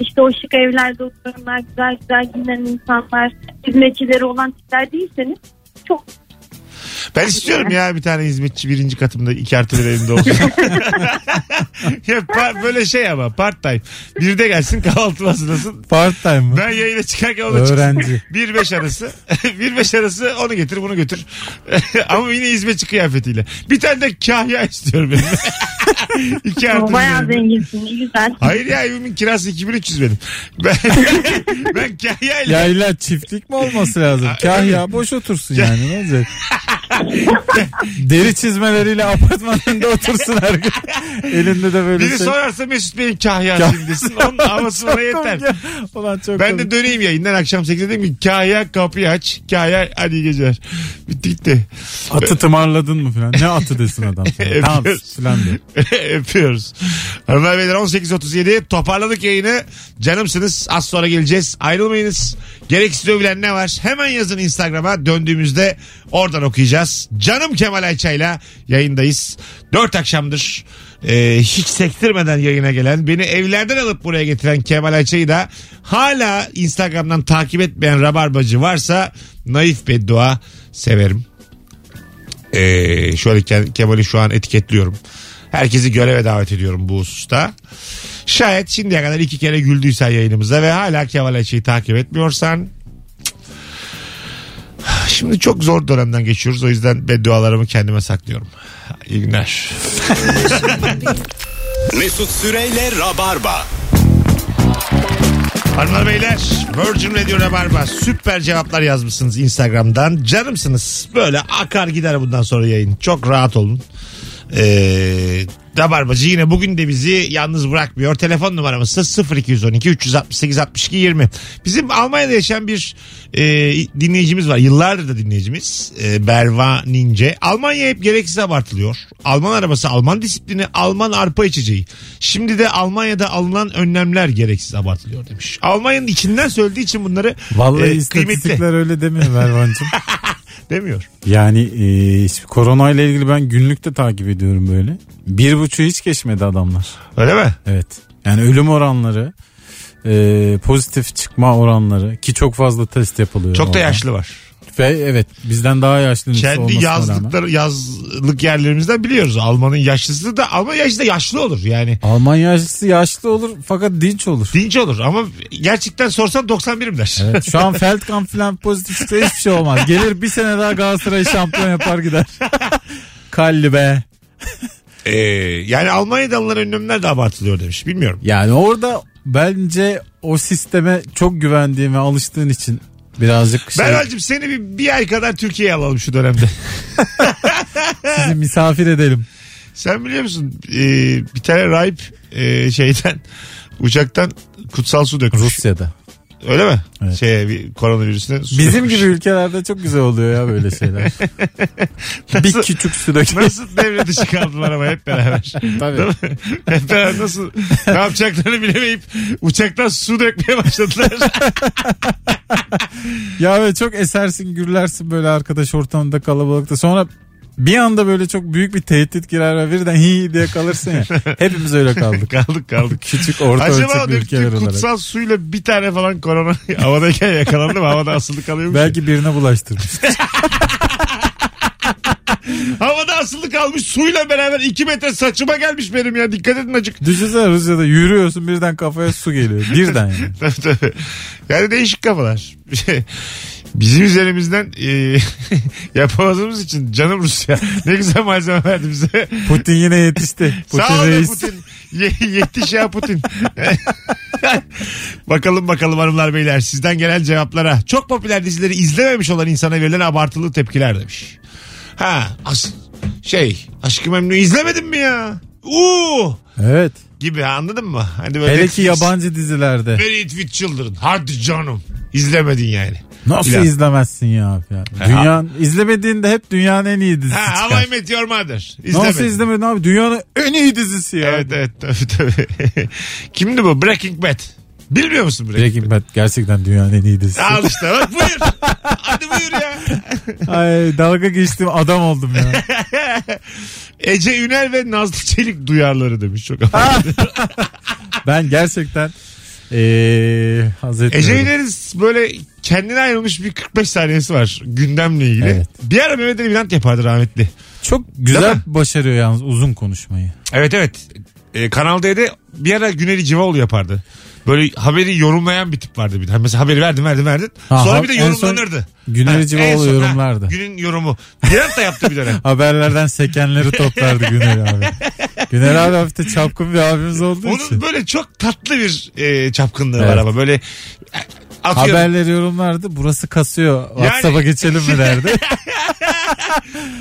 işte o şık evlerde oturanlar güzel güzel giyinen insanlar hizmetçileri olan tipler değilseniz çok
Ben istiyorum ya bir tane hizmetçi birinci katımda iki artı bir evimde olsun. ya pa- böyle şey ama part time. Bir de gelsin kahvaltı masasındasın.
yani. Part time mı?
Ben yayına çıkarken ona çıksın.
Öğrenci.
1-5 arası. 1-5 arası onu getir bunu götür. Ama yine hizmetçi kıyafetiyle. Bir tane de kahya istiyorum benim. İki artı bir
bayağı
evimde.
zenginsin ne güzel.
Hayır ya evimin kirası 2300 benim. Ben, ben kahya ile
Ya illa çiftlik mi olması lazım?
Aa,
Kahya boş otursun yani ne olacak? Deri çizmeleriyle apartmanında otursun her gün. Elinde de böyle
biri
şey.
sorarsa Mesut Bey'in kahya
Kah-
şimdi desin. Onun havası bana yeter.
Komik ya. Ulan çok
Ben
komik.
de döneyim yayından akşam 8'de dedim ki kahya kapıyı aç. Kahya hadi iyi geceler. Bitti gitti.
Atı tımarladın mı falan. Ne atı desin adam.
Evet.
Tamam falan diyor.
Öpüyoruz. Hanımlar beyler 18.37 toparladık yayını. Canımsınız az sonra geleceğiz. Ayrılmayınız. Gereksiz övülen ne var? Hemen yazın Instagram'a döndüğümüzde oradan okuyacağız. Canım Kemal Ayça'yla yayındayız. Dört akşamdır e, hiç sektirmeden yayına gelen beni evlerden alıp buraya getiren Kemal Ayça'yı da hala Instagram'dan takip etmeyen rabarbacı varsa naif beddua severim. Ee, şöyle Ke- Kemal'i şu an etiketliyorum. Herkesi göreve davet ediyorum bu hususta. Şayet şimdiye kadar iki kere güldüysen yayınımıza ve hala Kemal Ayça'yı takip etmiyorsan cık. Şimdi çok zor dönemden geçiyoruz. O yüzden beddualarımı kendime saklıyorum. İyi günler.
Mesut Süreyle Rabarba.
Hanımlar beyler Virgin Radio Rabarba süper cevaplar yazmışsınız Instagram'dan. Canımsınız böyle akar gider bundan sonra yayın. Çok rahat olun. Ee, Rabarbacı yine bugün de bizi yalnız bırakmıyor. Telefon numaramız da 0212 368 62 20. Bizim Almanya'da yaşayan bir e, dinleyicimiz var. Yıllardır da dinleyicimiz. E, Berva Nince. Almanya hep gereksiz abartılıyor. Alman arabası, Alman disiplini, Alman arpa içeceği. Şimdi de Almanya'da alınan önlemler gereksiz abartılıyor demiş. Almanya'nın içinden söylediği için bunları
Vallahi
e,
istatistikler
kıymetli
öyle demiyor Mervan'cığım.
demiyor.
yani e, korona ile ilgili ben günlükte takip ediyorum böyle. Bir buçuğu hiç geçmedi adamlar.
Öyle mi?
Evet. Yani ölüm oranları, e, pozitif çıkma oranları ki çok fazla test yapılıyor.
Çok da
orada.
yaşlı var.
Ve evet bizden daha yaşlı nüfus
kendi
olmasına rağmen.
yazlıkları yazlık yerlerimizden biliyoruz. Almanın yaşlısı da ama yaşlı da yaşlı olur yani.
Alman yaşlısı yaşlı olur fakat dinç olur.
Dinç olur ama gerçekten sorsan 91'im der.
Evet, şu an Feldkamp falan pozitif çıksa hiçbir şey olmaz. Gelir bir sene daha Galatasaray'ı şampiyon yapar gider. Kalli be.
Ee, yani Almanya'da alınan önlemler de abartılıyor demiş. Bilmiyorum.
Yani orada bence o sisteme çok güvendiğin ve alıştığın için birazcık şey,
Beral'cığım seni bir, bir ay kadar Türkiye'ye alalım şu dönemde.
Sizi misafir edelim.
Sen biliyor musun Ee, bir tane rahip ee, şeyden uçaktan kutsal su dökmüş.
Rusya'da.
Öyle mi?
Evet.
Şeye bir koronavirüsüne su
Bizim
dökmüş.
gibi ülkelerde çok güzel oluyor ya böyle şeyler.
Nasıl-
bir küçük su dökme.
Nasıl devre dışı kaldılar ama hep beraber. Değil
Tabii.
mi? Hep beraber nasıl ne yapacaklarını bilemeyip uçaktan su dökmeye başladılar.
Ya böyle çok esersin gürlersin böyle arkadaş ortamında kalabalıkta. Sonra bir anda böyle çok büyük bir tehdit girer ve birden hi diye kalırsın ya. Hepimiz öyle kaldık.
kaldık kaldık.
Küçük orta
Acaba o
ölçekli ülkeler
döktüğü
olarak.
kutsal suyla bir tane falan korona havadayken yakalandı mı? Havada asılı kalıyormuş. ya.
Belki birine bulaştırmış.
Havada asılı kalmış suyla beraber 2 metre saçıma gelmiş benim ya. Dikkat edin acık.
Düşünsene Rusya'da yürüyorsun birden kafaya su geliyor. Birden yani.
Tabii, tabii. yani değişik kafalar. Bizim üzerimizden e, yapamadığımız için canım Rusya. Ne güzel malzeme verdi bize.
Putin yine yetişti. Putin
Sağ olun
reis.
Putin. Ye- yetiş ya Putin. bakalım bakalım hanımlar beyler sizden gelen cevaplara. Çok popüler dizileri izlememiş olan insana verilen abartılı tepkiler demiş. Ha as şey aşkı memnu izlemedin mi ya? Uuu
Evet.
gibi anladın mı? Hani böyle
Hele ki
Netflix,
yabancı dizilerde.
Very it with children. Hadi canım. İzlemedin yani.
Nasıl
İlan.
izlemezsin ya? ya? Dünyanın, izlemediğinde hep dünyanın en iyi dizisi
Ha,
çıkar.
How I Met Your Mother. İzlemedin.
Nasıl izlemedin abi? Dünyanın en iyi dizisi ya.
Evet evet tabii tabii. Kimdi bu? Breaking Bad. Bilmiyor musun Breaking, Bad?
Breaking Bad gerçekten dünyanın en iyi dizisi.
Al işte bak buyur. Hadi buyur ya.
Ay dalga geçtim adam oldum ya.
Ece Ünel ve Nazlı Çelik duyarları demiş çok ama.
Ben gerçekten eee
Ece
Hazreti
Ünel'in böyle kendine ayrılmış bir 45 saniyesi var gündemle ilgili.
Evet.
Bir ara Mehmet Ali Bilant yapardı rahmetli.
Çok
Değil
güzel
mi?
başarıyor yalnız uzun konuşmayı.
Evet evet. Ee, Kanal D'de bir ara Güneli Civaoğlu yapardı. Böyle haberi yorumlayan bir tip vardı bir de. Mesela haberi verdin verdin verdin.
Ha,
Sonra
ha-
bir de
en son
yorumlanırdı.
Güneri
Ha, en
Civaoğlu
son, ha,
yorumlardı.
günün yorumu. Bilant da yaptı bir dönem.
Haberlerden sekenleri toplardı Güner abi. Güner abi hafifte çapkın bir abimiz olduğu
Onun
için.
böyle çok tatlı bir e, çapkınlığı var
Evet.
ama böyle e, atıyorum.
Haberleri yorumlardı. Burası kasıyor. WhatsApp'a geçelim mi derdi.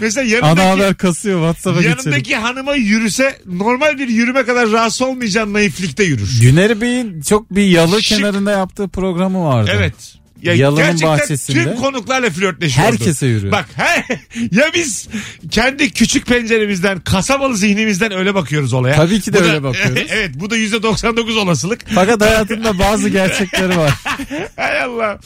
Mesela
Ana
yanındaki,
haber kasıyor. WhatsApp'a geçelim.
yanındaki hanıma yürüse normal bir yürüme kadar rahatsız olmayacağın naiflikte yürür.
Güner Bey'in çok bir yalı
Şık.
kenarında yaptığı programı vardı.
Evet. Ya
Yalının
gerçekten
bahçesinde
tüm konuklarla flörtleşiyordu.
Herkese yürüyor.
Bak he, ya biz kendi küçük penceremizden, kasabalı zihnimizden öyle bakıyoruz olaya.
Tabii ki de
Bu da-
öyle bakıyoruz.
evet bu da %99 olasılık.
Fakat hayatında bazı gerçekleri var.
Hay Allah.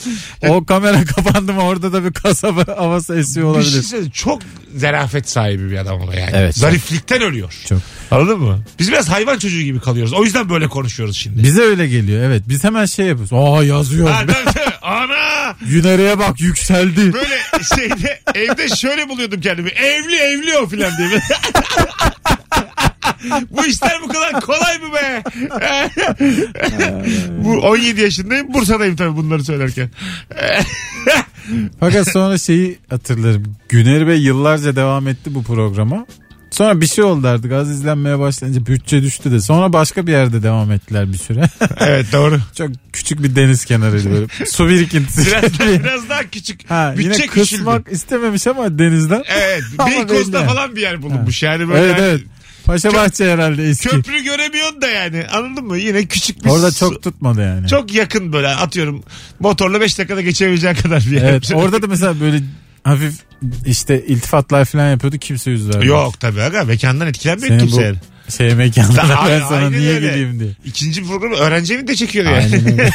O kamera kapandı mı orada da bir kasaba havası esiyor
Bir şey
olabilir.
söyleyeyim, çok zarafet sahibi bir adam ama yani.
Evet.
Zariflikten ölüyor.
Çok.
Anladın mı? Biz biraz hayvan çocuğu gibi kalıyoruz. O yüzden böyle konuşuyoruz şimdi.
Bize öyle geliyor evet. Biz hemen şey yapıyoruz. Aa yazıyor.
şey- Ha, tabii, tabii. Ana!
Güner'e bak yükseldi.
Böyle şeyde evde şöyle buluyordum kendimi. Evli evli o filan diye. bu işler bu kadar kolay mı be? bu 17 yaşındayım. Bursa'dayım tabii bunları söylerken.
Fakat sonra şeyi hatırlarım. Güner Bey yıllarca devam etti bu programa. Sonra bir şey oldu artık az izlenmeye başlayınca bütçe düştü de. Sonra başka bir yerde devam ettiler bir süre.
evet doğru.
Çok küçük bir deniz kenarıydı böyle. Su birikintisi.
Biraz daha, biraz daha küçük.
Ha,
Bütçe
yine kısmak
küçüldü.
istememiş ama denizden.
Evet.
Ama
Beykoz'da
belli.
falan bir yer bulunmuş. Yani böyle
Evet evet. Paşa Bahçe herhalde eski.
köprü göremiyorsun da yani. Anladın mı? Yine küçük bir
Orada
su-
çok tutmadı yani.
çok yakın böyle atıyorum motorla 5 dakikada geçebileceğin kadar bir yer.
Evet orada da mesela böyle hafif işte iltifatlar falan yapıyordu kimse yüz vermedi.
Yok tabii aga mekandan etkilenmiyor
Senin
kimse. yani.
bu şey mekanlara
Ay-
ben sana
aynen
niye
öyle.
gideyim diye.
İkinci programı öğrenci evi de çekiyor yani.
Aynen öyle.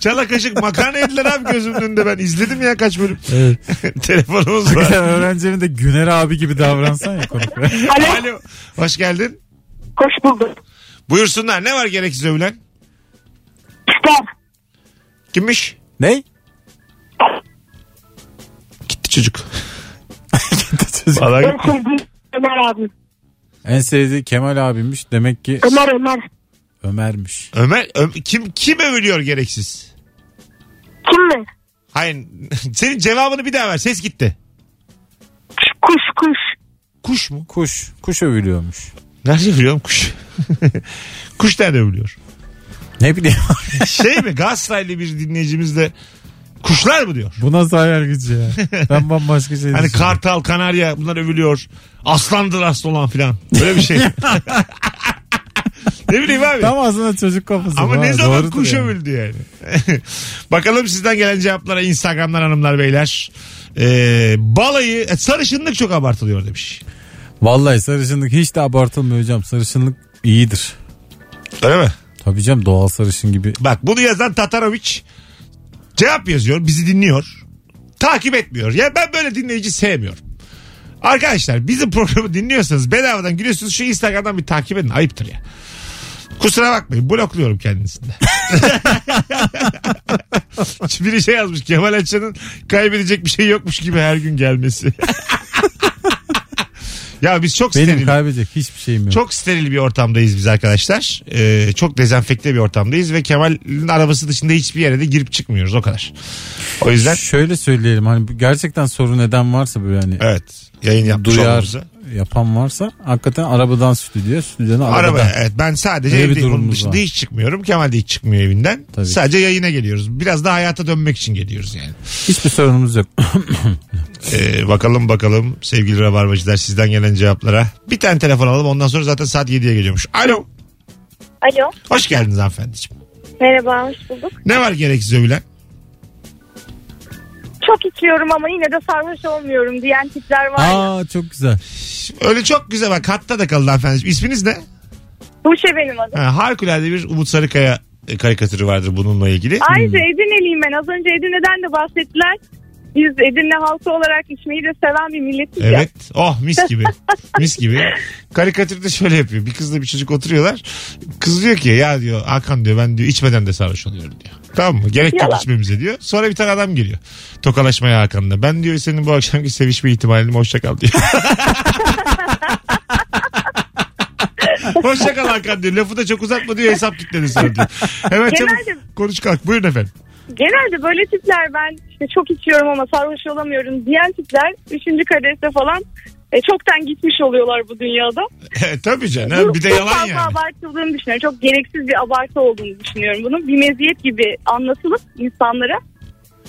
Çala kaşık makarna yediler abi gözümün önünde ben. izledim ya kaç bölüm.
Evet.
Telefonumuz
Hakikaten
var.
Öğrencimin de Güner abi gibi davransan ya konuklara.
Alo. Hoş geldin.
Hoş bulduk.
Buyursunlar. Ne var gereksiz övülen?
Star.
Kimmiş?
ne?
Gitti çocuk.
Çocuk.
Vallahi
En
gitti.
sevdiğim Ömer abi.
en sevdiği Kemal abiymiş. Demek ki
Ömer Ömer.
Ömer'miş.
Ömer, Ö- kim kim övülüyor gereksiz?
Kim mi?
Hayır. Senin cevabını bir daha ver. Ses gitti.
Kuş kuş.
Kuş mu?
Kuş. Kuş övülüyormuş.
Nerede övülüyorum kuş? kuş nerede övülüyor?
Ne bileyim.
Şey mi Galatasaraylı bir dinleyicimiz de Kuşlar mı diyor?
Bu nasıl hayal gücü ya? Ben bambaşka şey
Hani
düşünüyorum.
kartal, kanarya bunlar övülüyor. Aslandır aslan olan filan. Böyle bir şey. ne bileyim abi.
Tam aslında çocuk kafası.
Ama
bu
ne
ha,
zaman
doğrudur
kuş
yani.
övüldü yani. Bakalım sizden gelen cevaplara Instagram'dan hanımlar beyler. Ee, balayı e, sarışınlık çok abartılıyor demiş.
Vallahi sarışınlık hiç de abartılmıyor hocam. Sarışınlık iyidir.
Öyle mi?
Tabii canım doğal sarışın gibi.
Bak bunu yazan Tataroviç cevap yazıyor bizi dinliyor. Takip etmiyor. Ya ben böyle dinleyici sevmiyorum. Arkadaşlar bizim programı dinliyorsanız bedavadan gülüyorsunuz şu Instagram'dan bir takip edin ayıptır ya. Kusura bakmayın blokluyorum kendisinde. Biri şey yazmış Kemal Açan'ın kaybedecek bir şey yokmuş gibi her gün gelmesi. ya biz çok
Benim
steril-
kaybedecek hiçbir şeyim yok.
çok steril bir ortamdayız biz arkadaşlar. Ee, çok dezenfekte bir ortamdayız ve Kemal'in arabası dışında hiçbir yere de girip çıkmıyoruz o kadar. O yüzden
Şöyle söyleyelim hani bu- gerçekten soru neden varsa böyle hani
evet yayın yapmış
duyar
olmamıza.
yapan varsa hakikaten arabadan stüdyoya stüdyodan
Araba
arabadan.
evet ben sadece
Öyle bir
evdeyim. Onun
durumumuz
dışında
var.
hiç çıkmıyorum. Kemal de hiç çıkmıyor evinden.
Tabii ki.
Sadece yayına geliyoruz. Biraz da hayata dönmek için geliyoruz yani.
Hiçbir sorunumuz yok.
Ee, bakalım bakalım sevgili rabarbacılar sizden gelen cevaplara. Bir tane telefon alalım ondan sonra zaten saat 7'ye geliyormuş. Alo.
Alo.
Hoş geldiniz hanımefendiciğim.
Merhaba hoş bulduk.
Ne var gereksiz övülen?
Çok içiyorum ama yine de sarhoş olmuyorum diyen tipler var. ya.
Aa çok güzel.
Öyle çok güzel bak hatta da kaldı hanımefendiciğim. İsminiz ne?
Tuğçe benim adım.
Ha, Ee, harikulade bir Umut Sarıkaya e, karikatürü vardır bununla ilgili.
Ayrıca Edirne'liyim ben. Az önce Edirne'den de bahsettiler. Biz Edirne halkı olarak içmeyi de seven bir milletiz ya.
Evet. Oh mis gibi. mis gibi. Karikatürde şöyle yapıyor. Bir kızla bir çocuk oturuyorlar. Kız diyor ki ya diyor Hakan diyor ben diyor içmeden de sarhoş oluyorum diyor. Tamam mı? Gerek yok
Yalan.
içmemize diyor. Sonra bir tane adam geliyor. Tokalaşmaya Hakan'la. Ben diyor senin bu akşamki sevişme ihtimalini hoşça kal diyor. hoşça kal Hakan diyor. Lafı da çok uzatma diyor hesap kitledi sonra diyor. Hemen
Genelde-
çabuk konuş kalk. Buyurun efendim.
Genelde böyle tipler ben işte çok içiyorum ama sarhoş olamıyorum diyen tipler 3. kadehte falan e, çoktan gitmiş oluyorlar bu dünyada.
E, Tabii canım. Bir de yalan
fazla
yani.
abartıldığını düşünüyorum. Çok gereksiz bir abartı olduğunu düşünüyorum bunun. Bir meziyet gibi anlatılıp insanlara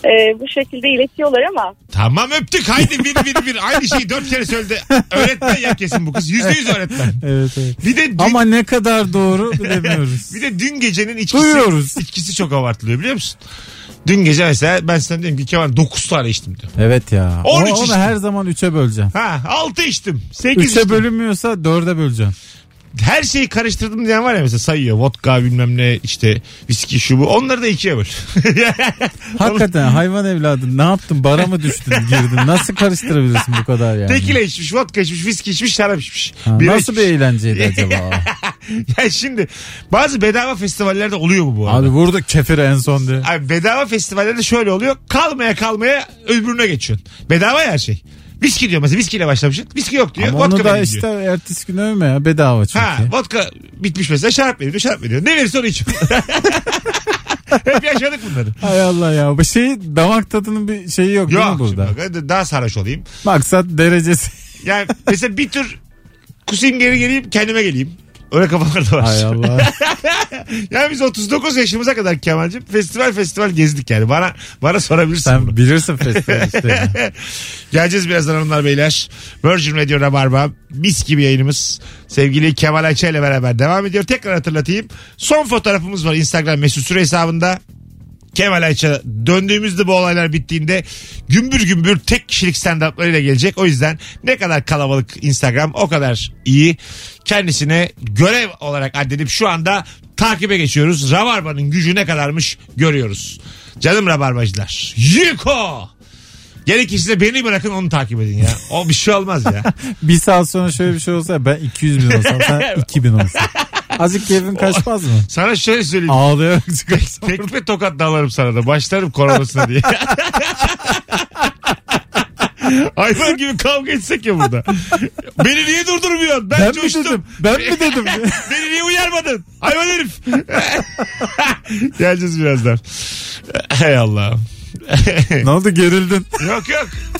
e, bu şekilde iletiyorlar ama
Tamam öptük haydi bir bir bir aynı şeyi dört kere söyledi. Öğretmen ya kesin bu kız yüzde yüz öğretmen.
Evet evet.
Bir de dün,
Ama ne kadar doğru bilemiyoruz.
bir de dün gecenin içkisi,
Duyuyoruz.
içkisi çok abartılıyor biliyor musun? Dün gece mesela ben sana diyorum ki Kemal 9 tane içtim diyor.
Evet ya. O-
13
onu
işte.
her zaman 3'e böleceğim.
Ha 6 içtim 8
3'e
içtim.
bölünmüyorsa 4'e böleceğim.
Her şeyi karıştırdım diyen var ya mesela sayıyor vodka bilmem ne işte viski şu bu onları da ikiye böl.
Hakikaten hayvan evladı ne yaptın? Bara mı düştün girdin? Nasıl karıştırabilirsin bu kadar yani?
Tekile içmiş vodka içmiş viski içmiş şarap içmiş.
Ha,
Bira
nasıl bir
içmiş.
eğlenceydi acaba?
Ya şimdi bazı bedava festivallerde oluyor bu bu arada.
Abi vurduk kefir en son diye.
Abi bedava festivallerde şöyle oluyor. Kalmaya kalmaya öbürüne geçiyorsun. Bedava ya her şey. Viski diyor mesela. Viskiyle başlamışsın. Viski yok diyor.
Ama
vodka
onu da
vereyim
işte
diyor.
ertesi gün övme ya bedava çünkü.
Ha vodka bitmiş mesela şarap veriyor şarap veriyor. Ne verirse onu içiyor. Hep yaşadık bunları.
Hay Allah ya. Bu şey damak tadının bir şeyi yok, değil mi
Yok
burada?
şimdi bak, daha sarhoş olayım.
Maksat derecesi.
Yani mesela bir tür kusayım geri geleyim kendime geleyim. Öyle kafalar da var.
Hay Allah.
Yani biz 39 yaşımıza kadar Kemal'cim festival festival gezdik yani. Bana bana sorabilirsin bunu.
Sen bilirsin festival işte.
Geleceğiz birazdan hanımlar beyler. Virgin Radio Rabarba mis gibi yayınımız. Sevgili Kemal Ayça ile beraber devam ediyor. Tekrar hatırlatayım. Son fotoğrafımız var Instagram mesut süre hesabında. Kemal Ayça döndüğümüzde bu olaylar bittiğinde gümbür gümbür tek kişilik stand-up'larıyla gelecek. O yüzden ne kadar kalabalık Instagram o kadar iyi. Kendisine görev olarak addedip şu anda takibe geçiyoruz. Rabarba'nın gücü ne kadarmış görüyoruz. Canım Rabarbacılar. Yiko! Gerekirse beni bırakın onu takip edin ya. O bir şey olmaz ya.
bir saat sonra şöyle bir şey olsa ben 200 bin olsam sen 2000 olsan. Azıcık keyfin kaçmaz mı?
Sana şöyle söyleyeyim.
Ağlayarak
Tek-
çıkarsam.
Tekme tokat dalarım sana da. Başlarım koronasına diye. Hayvan gibi kavga etsek ya burada. Beni niye durdurmuyorsun? Ben,
Ben mi
coştum.
dedim? Ben mi dedim?
Beni niye uyarmadın? Hayvan herif. Geleceğiz birazdan. Hey Allah'ım.
ne oldu gerildin?
yok yok.